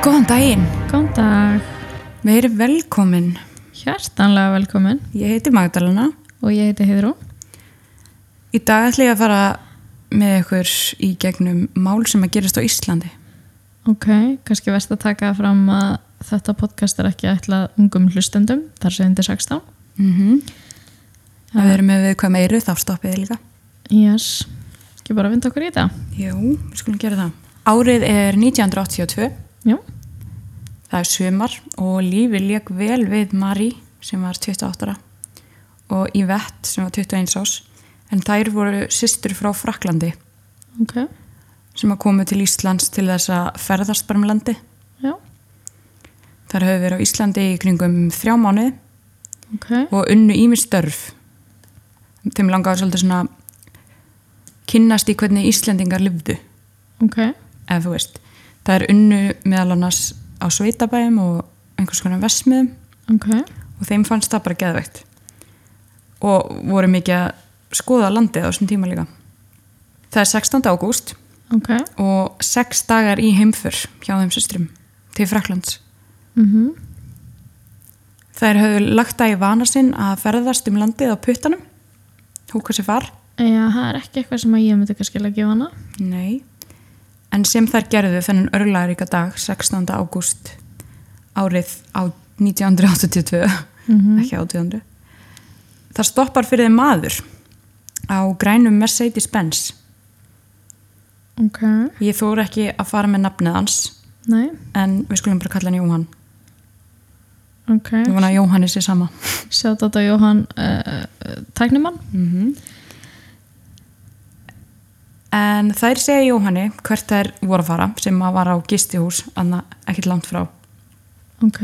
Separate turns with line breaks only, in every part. Góðan daginn,
Góðan dag,
við erum velkomin.
hjartanlega velkomin
Ég heiti Magdalena.
og ég heiti Heiðrú.
Í dag ætla ég að fara með ykkur í gegnum mál sem að gerast á Íslandi.
Ok, kannski verðst að taka fram að þetta podcast er ekki ætlað ungum hlustendum, þar sem undir 16.
Mm -hmm. Ef við erum með viðkvæm eiru þá stoppið þið líka.
Yes, ekki bara vinda okkur í þetta.
Jú, við skulum gera það. Árið er 1982,
Já,
það er sumar og lífi lék vel við Marie sem var 28 ára og Yvette sem var 21 ás en þær voru systur frá Fraklandi
ok,
sem að komu til Íslands til þess að ferðast bara um landi.
já,
Þar höfðu verið á Íslandi í kringum þrjá mánuði
ok,
og unnu ími störf. Þeim langaði svolítið svona kynnast í hvernig Íslendingar lifðu,
ok,
ef þú veist. Það er unnu meðal annars á sveitabæðum og einhvers konar vesmiðum
ok,
og þeim fannst það bara geðveikt. Og voru mikið að skoða landið á þessum tíma líka. Það er 16. ágúst
ok,
og sex dagar í heimför hjá þeim systrum til Fraklands.
mhm,
Þær höfðu lagt það í vana sinn að ferðast um landið á puttanum. Húka sér far?
Eh, já, það er ekki eitthvað sem að ég myndi kannski leggja á hana.
Nei. En sem þær gerðu þennan örlaðaríka dag, 16. ágúst árið á 1982,
Mhm.
ekki 1800. Það stoppar fyrir þeim maður á grænum Mercedes-Benz.
Ok,
Ég þóru ekki að fara með nafnið hans,
nei,
en við skulum bara kalla hann Jóhann.
ok,
Ég vona að Jóhann er sér sama.
sjá þetta Jóhann uh, Tæknumann.
Mhm. En þær segja Jóhanni hvert þær voru að fara sem að var á gistihús, annað ekkert langt frá.
Ok,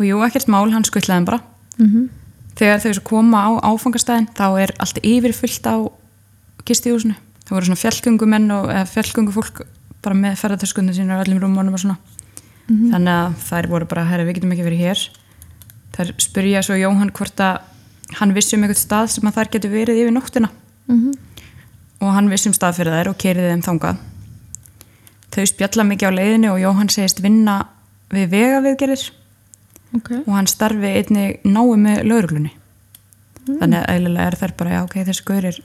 Og jú, ekkert mál, hann skuttlaði hann bara.
mhm,
Þegar þau svo koma á áfangastæðin þá er allt yfirfullt á gistihúsinu. Það voru svona fjallgöngumenn og eða fjallgöngufólk bara með ferðartöskunni sína á öllum rúmunum og svona.
Mhm.
Þannig að þær voru bara, herri, við getum ekki verið hér. Þær spurja svo Jóhann hvort að hann vissi um eitthvað stað sem að þær getur verið yfir nóttina.
mhm,
og hann vissum stað fyrir þær og keiriði þeim þangað. Þau spjalla mikið á leiðinu og Jóhann segist vinna við vegaviðgerir
ok,
og hann starfi einnig náu með lauruglunni. Þannig að eðlilega er þær bara, já ok, þessi gaur er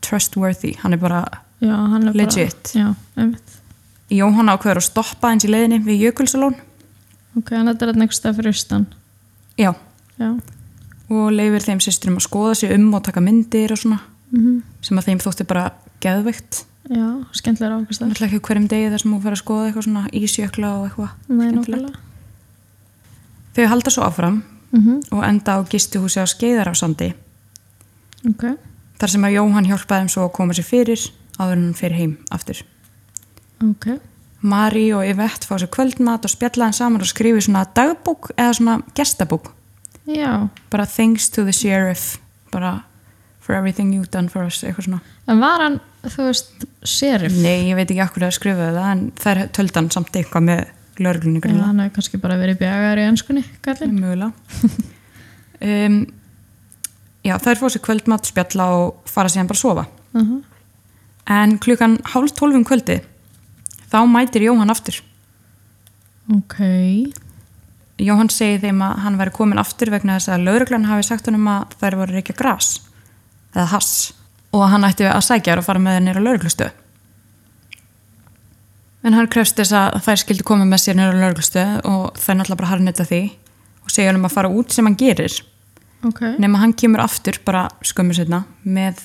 trustworthy, hann er bara,
já, hann er bara.
Legit.
Já, einmitt.
Jóhann ákveður að stoppa eins í leiðinu við Jökulsalón,
Ok, en þetta er þarna einhvers stað fyrir austan.
já,
Já.
og leifir þeim sýsturum að skoða sig um og taka myndir og svona,
Mm
sem að þeim þótti bara geðveikt.
Já, skemmtilega ákvæmst
Það er
það.
alltaf ekki á hverjum degi þar sem hún fer að skoða eitthvað svona ísjökla og eitthvað.
Nei,
skemmtilegt.
nákvæmlega.
Þau halda svo áfram
Mm
og enda á gistihúsi á Skeiðarafsandi
Ok,
þar sem að Jóhann hjálpaði þeim svo að koma sér fyrir áður en hann fyrir heim aftur.
ok,
Mari og Yvette fá sér kvöldmat og spjalla hann saman og skrifi svona dagbúk eða svona gestabúk
já.
bara thanks to the sheriff bara for everything you've done for us eitthvað svona.
En var hann, þú veist, sheriff?
Nei, ég veit ekki akkur að skrifa það en þær töldu hann samt eitthvað með lörglunni
Já, hann hefði kannski bara verið bjagaður í ennskunni, kallinn.
Mögulega. um, já, þær fá sér kvöldmat, spjalla og fara síðan bara að sofa.
Uh
En klukkan hálf tólfum kvöldi þá mætir Jóhann aftur.
Ok,
Jóhann segi þeim að hann væri komin aftur vegna þess að lauruglan hafi sagt honum að þær voru reykja gras eða hass og að hann ætti að sækja þær og fara með þær nýra lauruglustu. En hann krefst þess að þær skildi koma með sér nýra lauruglustu og þær náttúrulega bara harnetta því og segja honum að fara út sem hann gerir
ok,
nema hann kemur aftur bara skömmu setna með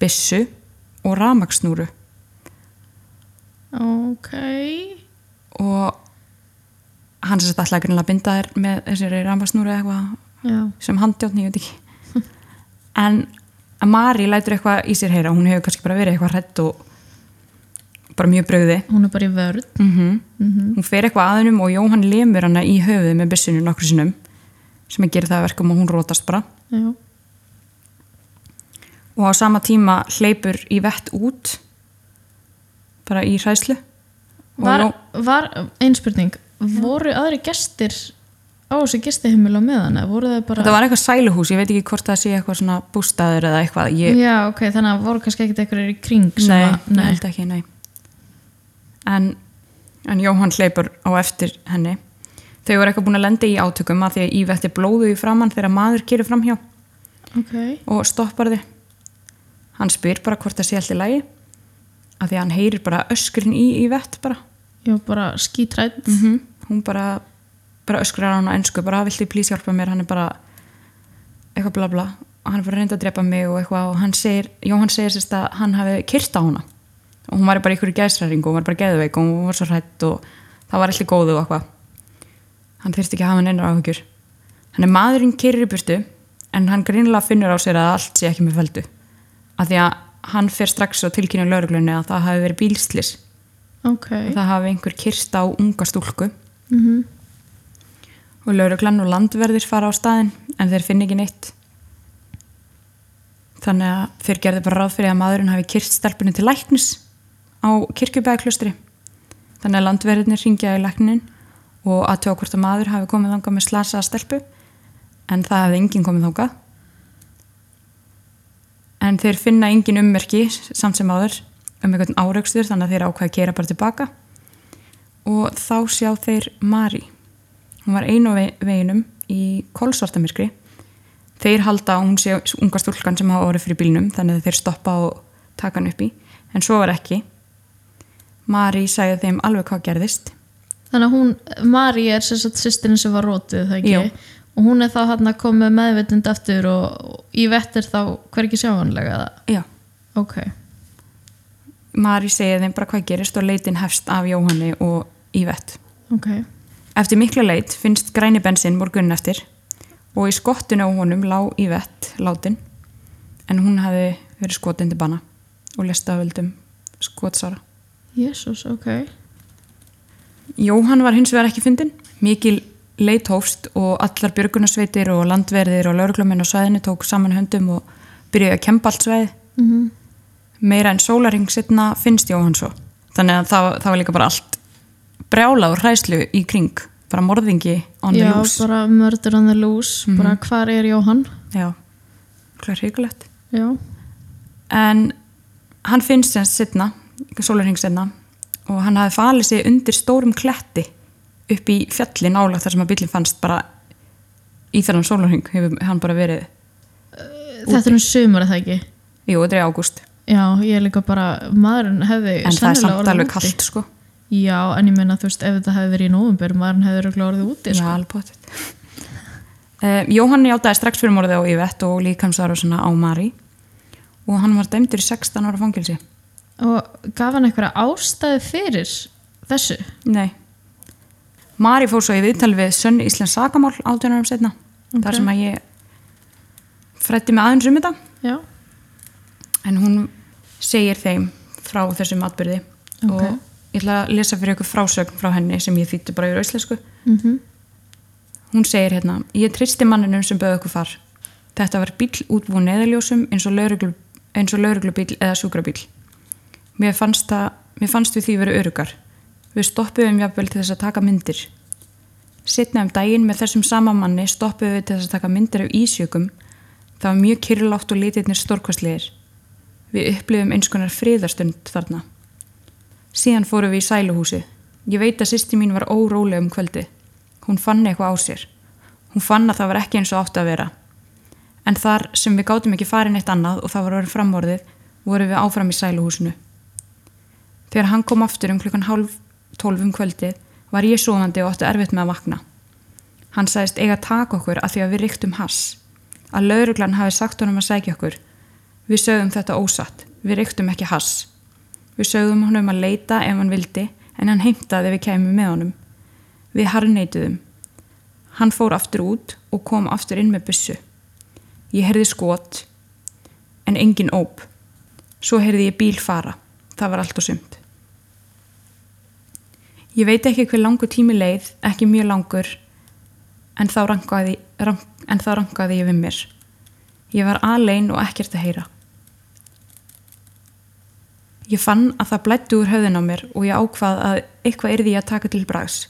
byssu og ramaksnúru
ok.
og hann sem sagt alltaf greinlega að binda þér með þessari rambasnúri eða eitthvað
Já,
sem handjátni, ég veit ekki en Mari lætur eitthvað í sér heyra hún hefur kannski bara verið eitthvað hrætt og bara mjög bröði
hún er bara í vörð.
mm hún fer eitthvað aðunum og Jóhann lemur hana í höfuð með byssinu nokkur sinnum sem að gera það að verkum og hún rótast bara
Já,
og á sama tíma hleypur í vett út bara í hræslu Og
var,
Jón-
var einspurning, voru aðri gestir á þessu gestihimil á meðan? eða Voru það bara...
þetta var eitthvað sæluhús, ég veit ekki hvort það sé eitthvað svona bústaður eða eitthvað ég,
Já, ok, þannig að voru kannski ekkert eitthvað í kring sem
Nei,
að,
ég held ekki, nei En en Jóhann hleypur á eftir henni. Þau eru eitthvað búin að lenda í átökum að því að Ívett er blóðuð í framann þegar maður kýrir framhjá
Ok.
og stoppar þið. Hann spyr bara hvort það sé allt í lagi að því að hann heyrir bara öskrin í Ívett bara.
Ég var bara skítrætt.
Mm Hún bara, bara öskrar á hann á ennsku, bara vilti plís hjálpa mér, hann er bara eitthvað bla bla og hann er bara reynd að drepa mig og eitthvað og hann segir, Jóhann segir sérst að hann hafi kyrt á hana og hún var bara í ykkur gæsræringu og hún var bara geðveik og hún var svo hrætt og það var allir góðu og eitthvað hann þyrst ekki að hafa neinar áhugjur hann er maðurinn kyrri burtu en hann greinlega finnur á sér að allt sé ekki með feldu af því að hann fer strax og tilkynna lögreglunni að það hafi verið bílslis
Ok.
það hafi einhver kyrst á unga stúlku
Mm
og lauruglan og landverðir fara á staðin en þeir finna ekki neitt þannig að þeir gerðu bara ráð fyrir að maðurinn hafi kyrst stelpunni til læknis á kirkjubæðaklustri þannig að landverðirnir ringja í læknin og aðtöða hvort að maður hafi komið þangað með slasaða stelpu en það hefði enginn komið þangað en þeir finna engin ummerki samt sem áður um einhvern áraugstur þannig að þeir ákvæða að kera bara tilbaka og þá sjá þeir Mari hún var einu ve veginum í kolsvartamirkri þeir halda að hún sé unga stúlkan sem hafa orðið fyrir bílnum þannig að þeir stoppa og taka hann upp í en svo var ekki Mari sagði þeim alveg hvað gerðist
Þannig að hún, Mari er sem sagt sýstirinn sem var rótið, það ekki?
Jú.
Og hún er þá hann að koma með meðvitund aftur og, og í vettir þá hvergi sjáanlega það.
Já.
Ok.
Mari segið þeim bara hvað gerist og leitin hefst af Jóhanni og Ívett
Ok.
Eftir mikla leit finnst græni bensin morgunin eftir og í skottinu á honum lá Ívett látin en hún hafi verið skotin til bana og lesta af völdum skotsara
Jésús, ok.
Jóhann var hins vegar ekki fyndin. Mikil leit hófst og allar björgunarsveitir og landverðir og lauruglumenn á svæðinu tók saman höndum og byrjuði að kempa allt svæði.
Mm -hmm.
Meira en sólaring setna finnst Jóhann svo. Þannig að það, það var líka bara allt brjála og hræslu í kring. Bara morðingi on the
Já,
loose. Mhm.
bara murder on the loose, bara hvar er Jóhann?
Já, hver hryggulegt.
Já.
en hann finnst sem setna, sólarheng setna og hann hafði falið sig undir stórum kletti upp í fjallin álagt þar sem að bílinn fannst bara í þennan sólarheng hefur hann bara verið
Þetta er um sumar, er það ekki?
jú, þetta er í ágúst
Já, ég er líka bara, maðurinn hefði
en það er
sennilega
samt
orðið
alveg
úti.
kallt sko,
Já, en ég meina, þú veist, ef þetta hefði verið í nóvumber, maðurinn hefði örugglega orðið úti,
já,
sko.
alveg potið um, Jóhann játaði strax fyrir morðið á Yvette og líkamsvara á Mari og hann var dæmdur í 16 ára fangilsi
Og gaf hann eitthvað ástæði fyrir þessu?
Nei. Mari fór svo í viðtal við Sönn Íslands sakamál átjónarum setna.
Ok.
Þar sem að ég frætti mig aðeins um þetta.
Já.
En hún segir þeim frá þessum atbyrði.
Ok.
Og ég ætla að lesa fyrir ykkur frásögn frá henni sem ég þýtti bara í rauðslesku.
Mm
Hún segir hérna, ég tristi manninum sem bauð okkur far. Þetta var bíl útbúin neðaljósum eins og lögreglu- eins og lauruglubíl eða sjúkrabíl. Mér fannst, það, mér fannst við því verið örugar. Við stoppuðum jafnvel til þess að taka myndir. Sitna um daginn með þessum sama manni stoppuðum við til þess að taka myndir af ísjökum. Það var mjög kyrlátt og litirnir stórkvæslegir. Við upplifum eins konar friðarstund þarna. Síðan fórum við í sæluhúsið. Ég veit að sýsti mín var óróleg um kvöldi. Hún fann eitthvað á sér. Hún fann að það var ekki eins og átt að vera. En þar sem við gátum ekki farin eitt annað og það var orðið framorðið, vorum við áfram í sæluhúsinu. Þegar hann kom aftur um klukkan hálf tólf um kvöldið var ég svoðandi og átti erfitt með að vakna. Hann sagðist eiga að taka okkur að því að við ríktum hass. Að lauruglan hafi sagt honum að sækja okkur. Við sögðum þetta ósatt. Við ríktum ekki hass. Við sögðum honum að leita ef hann vildi en hann heimtaði ef við kemum með honum. Við harneituðum. Hann fór aftur út og kom aftur inn með bussu. Ég heyrði skot en engin óp. Svo heyrði ég bíl fara. Það var allt og sumt. Ég veit ekki hver langur tími leið, ekki mjög langur, en þá rankaði, rank, en þá rankaði ég við mér. Ég var alein og ekkert að heyra. Ég fann að það blættu úr höfðin á mér og ég ákvað að eitthvað yrði ég að taka til brags.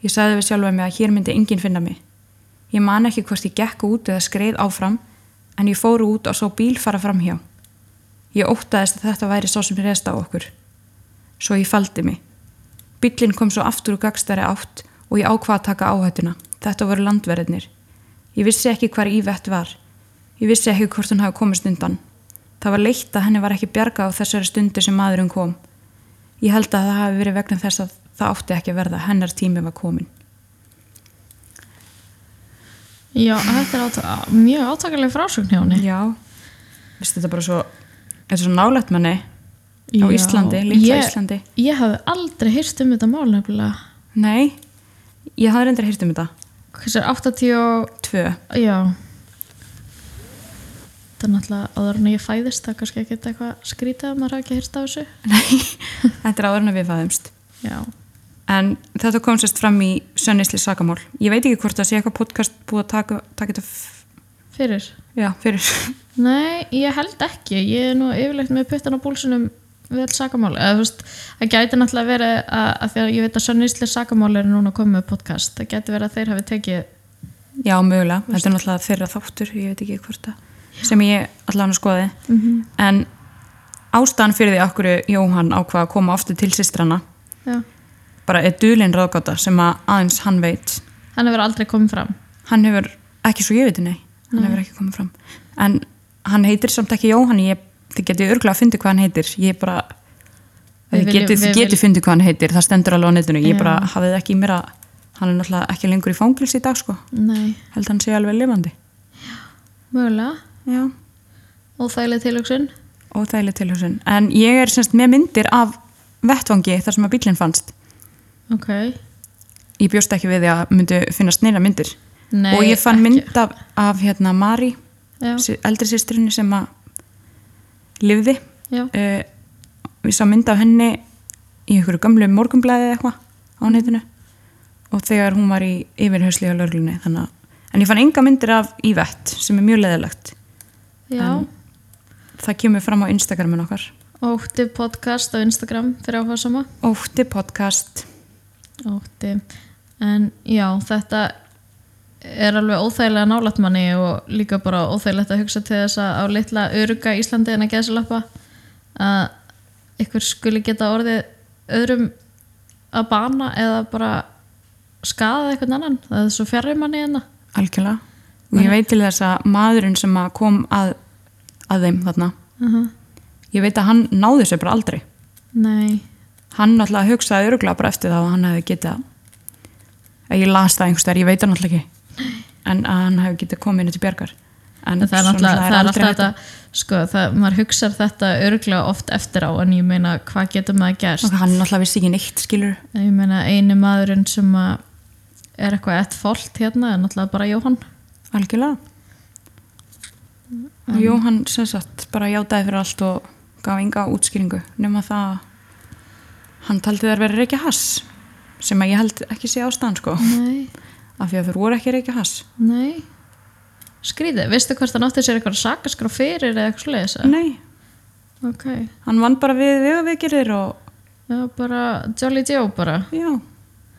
Ég sagði við sjálfa mig að hér myndi enginn finna mig. Ég man ekki hvort ég gekk út eða skreið áfram, en ég fór út og svo bíl fara framhjá. Ég óttaðist að þetta væri sá sem reyðst á okkur. Svo ég faldi mig. Bíllinn kom svo aftur úr gagstari átt og ég ákvað að taka áhættuna. Þetta voru landverðinir. Ég vissi ekki hvar Ívett var. Ég vissi ekki hvort hún hafi komist undan. Það var leitt að henni var ekki bjargað á þessari stundu sem maðurinn kom. Ég held að það hafi verið vegna þess að það átti ekki að verða. Hennar tími var komin.
Já, þetta er átaka, mjög átakalega frásögn hjá henni.
Já. Vistu þetta er bara svo, þetta er svo nálægt manni á
Já.
Íslandi, litla
Ég-
Íslandi.
Ég hafði aldrei hýrst um þetta mál nefnilega.
Nei, ég hafði reyndar hýrt um þetta.
Hversu er 80 og...
Tvö.
Já. Þetta er náttúrulega áður en ég fæðist, það er kannski ekki eitthvað skrítið að maður hafi ekki hýrst af þessu.
Þetta er áður en að við fæðumst.
Já.
En þetta kom sérst fram í sönnisli sakamál. Ég veit ekki hvort það sé eitthvað podcast búið að taka, taka þetta f-
Fyrir?
já, fyrir.
Nei, ég held ekki. Ég er nú yfirleitt með puttan á búlsunum við all sakamál. Eða, þú veist, það gæti náttúrulega verið að, að því að ég veit að Sönnisli sakamál er núna komið með podcast. Það gæti verið að þeir hafi tekið
Já, mögulega. Þetta er náttúrulega þeirra þáttur, ég veit ekki hvort það, sem ég allan skoði.
Mhm.
En ástæðan fyrir því okkur Jóhann ákvað að koma ofta til sýstrana
Já.
bara er dulinn ráðgáta sem að aðeins hann veit.
Hann hefur aldrei komið fram.
Hann hefur, ekki svo ég veit nei, hann
Nei.
hefur ekki komið fram. En hann heitir samt ekki Jóhann, ég, þið getið örgulega að fyndi hvað hann heitir. Ég bara,
Við
Þið
viljum-
getið,
við
þið getið
viljum-
fundið hvað hann heitir, það stendur alveg á netinu. Ég
Já.
bara hafið ekki í mér að hann er náttúrulega ekki lengur í fangils í dag, sko.
Nei,
Held hann sé alveg lifandi.
mögulega.
Já.
Óþægileg tilöksun.
Óþægileg tilhjóðsinn. En ég er semst með myndir af vettvangi þar sem að bílinn fannst.
Ok.
Ég bjóst ekki við því að myndu finnast neina myndir.
Nei,
og ég fann
ekki.
mynd af, af hérna Mari,
Já,
sí- eldri sýstrinni sem að lifði.
já.
Uh, við sá mynd af henni í einhverju gamlu morgumblæði eða eitthvað á netinu og þegar hún var í yfirhausli á lörglunni þannig að en ég fann enga myndir af Ívett sem er mjög leðilegt
já.
en- það kemur fram á Instagramin okkar
Ótti podcast á Instagram fyrir áhuga sama.
Ótti podcast
Ótti. En já, þetta er alveg óþægilega nálætt manni og líka bara óþægilegt að hugsa til þess að á litla öruga Íslandi en að geðsilappa að ykkur skuli geta orðið öðrum að bana eða bara skaða eitthvað annan. Það er svo fjarrir manni hérna.
algjörlega og ég veit til þess að maðurinn sem að kom að, að þeim þarna
Uh
ég veit að hann náði sér bara aldrei
Nei.
hann náttúrulega hugsaði öruglega bara eftir það að hann hefði getað að ég las það einhvers þar, ég veit það náttúrulega ekki en að hann hefði getað komið inn til bjargar en
En það er
svona
náttúrulega, það er alltaf
aldrei hægt
þetta, sko, það, maður hugsar þetta örglega oft eftir á en ég meina hvað getur maður gerst?
að- hann náttúrulega vissi ekki neitt skilur
Ég meina einu maðurinn sem að er eitthvað ett fólt hérna er náttúrulega bara Jóhann.
algjörlega
Mm.
og jú, hann sem sagt bara játaði fyrir allt og gaf enga útskýringu nema það að hann taldi þær verið reykja hass sem að ég held ekki sé ástæðan sko
Nei,
af því að þau voru ekki reykja hass
nei. Skrítið, veistu hvort það nátti sér eitthvað sakaskrá fyrir eða eitthvað sliðis?
nei,
Ok,
hann vann bara við vegaveikirðir og
já bara Jolly Joe bara.
Já,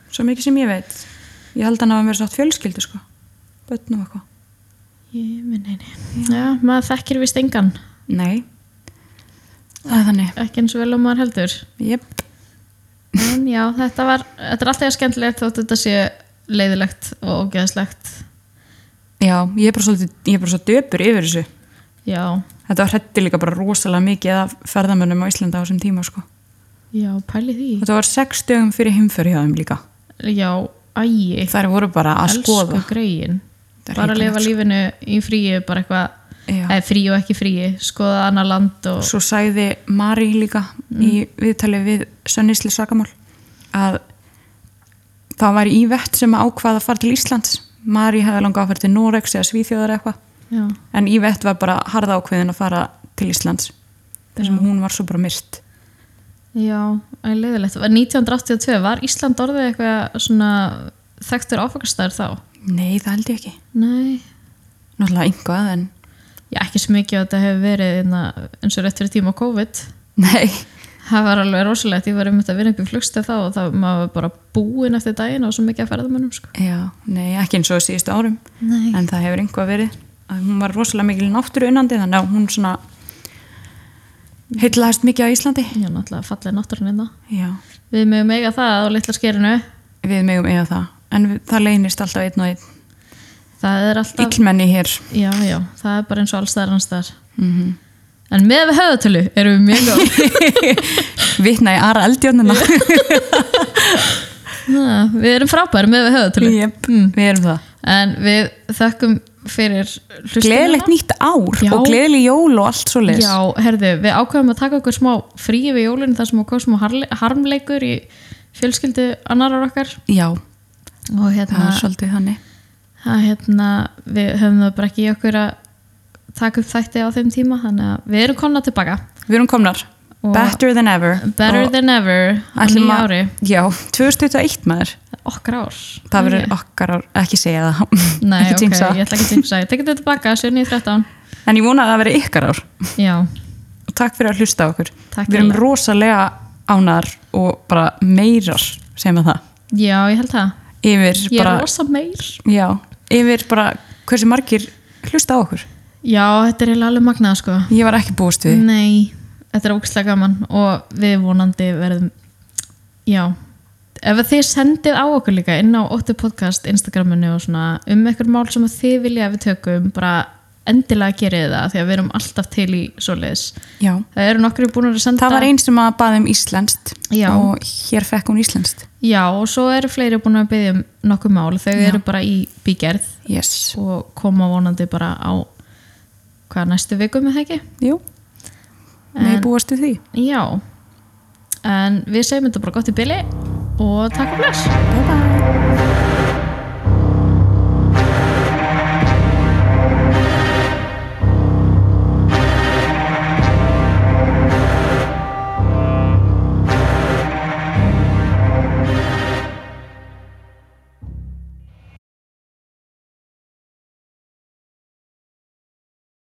svo mikið sem ég veit. Ég held að hann hafa verið sátt fjölskyldu sko. Bönn og eitthvað.
Ég minni henni. Já, maður þekkir vist engan,
Nei. Það er þannig.
ekki eins og vel og maður heldur.
Jep.
En já, þetta var, þetta er alltaf jafn skemmtilegt þótt þetta sé leiðilegt og ógeðslegt.
Já, ég er bara svolítið, ég er bara svo döpur yfir þessu.
Já,
Þetta hrætti líka bara rosalega mikið af ferðamönnum á Íslanda á þessum tíma sko.
já, pæli því.
Þetta var sex dögum fyrir heimföri hjá þeim líka.
Já, ægi.
Þær voru bara að skoða.
gregin
Þetta er
bara að
hrikalegt,
lifa lífinu í fríi bara eitthvað,
Já.
eða frí og ekki fríi skoða annar land og
Svo sagði Mari líka í viðtali við Sönnisli Sakamál að það var Ívett sem ákvað að fara til Íslands. Mari hefði langa að fara til Noregs eða Svíþjóðar eitthvað.
já,
En Ívett var bara harða ákveðin að fara til Íslands. Þar sem hún var svo bara myrst.
já, það er leiðilegt Var 1982, var Ísland orðið eitthvað svona þekktur áfangastæður þá?
Nei, það held ég ekki.
Nei,
Náttúrulega yngvað en
já, ekki svo mikið að þetta hefur verið inna, eins og rétt fyrir tíma COVID
nei.
það var alveg rosalegt, ég var einmitt að vinna upp í flugstu þá og það maður var bara búinn eftir daginn og svo mikið að ferðamönnum sko.
Já, nei, ekki eins og síðustu árum.
Nei,
En það hefur yngvað verið. Að Hún var rosalega mikil náttúru innandi þannig að hún svona heitlaðast mikið á Íslandi
Já, náttúrulega fallega náttúrun innan.
já,
Við mögum eiga það á litla skerinu.
við megum eiga það en við, það leynist alltaf einn og einn
Það er alltaf...
illmenni hér
Já, já, það er bara eins og alls þar hans þar.
mm -hmm.
En með við höfðatölu erum við mjög góð.
vitna í aðra eldjörnuna
Na, við erum frábæri með við höfðatölu.
yep.
Mm.
við erum það
En við þökkum fyrir hlustunina.
gleðilegt nýtt ár
Já.
og gleðileg jól og allt svo leis
Já, herðu, við ákveðum að taka okkur smá frí við jólun þar sem okkur smá harle- harmleikur í fjölskyldu annarar okkar og
það
hérna,
er svolítið þannig
það, hérna við höfum það bara ekki í okkur að taka upp þætti á þeim tíma þannig að við erum komna tilbaka
við erum komnar,
Og-
better than ever
better
Og
than ever á
ætlum
nýja
að-
ári,
já, 2021 maður
okkar ár
það verður
Ok.
okkar ár, ekki segja það
Nei,
ekki
ok,
jinxa.
ég ætla ekki að jinxa, ég tekið þetta tilbaka 7.13,
en ég vona að það verður ykkar ár
já
og takk fyrir að hlusta á okkur
Takk
við erum
hérlega.
rosalega ánar og bara meirar sem að það
Já, ég held það,
yfir
ég
bara,
er rosa meir
já, yfir bara hversu margir hlusta á okkur
Já, þetta er eiginlega alveg magnað sko
ég var ekki búist við
Nei, þetta er ógæslega gaman og við vonandi verðum já, ef að þið sendið á okkur líka inn á 8 podcast Instagraminu og svona um eitthvað mál sem að þið vilja að við tökum, bara endilega gerið það því að við erum alltaf til í svoleiðis.
já.
Það eru nokkru búin að senda
það var einn sem að baði um íslenskt
Já.
og hér fekk hún íslenskt
Já, og svo eru fleiri búin að byggja um nokkuð mál, þau
Já.
eru bara í bígerð
yes,
og koma vonandi bara á hvað næstu vikum er það ekki?
jú með búast við því
Já, en við segjum þetta bara gott í bili og takk og bless.
bye bye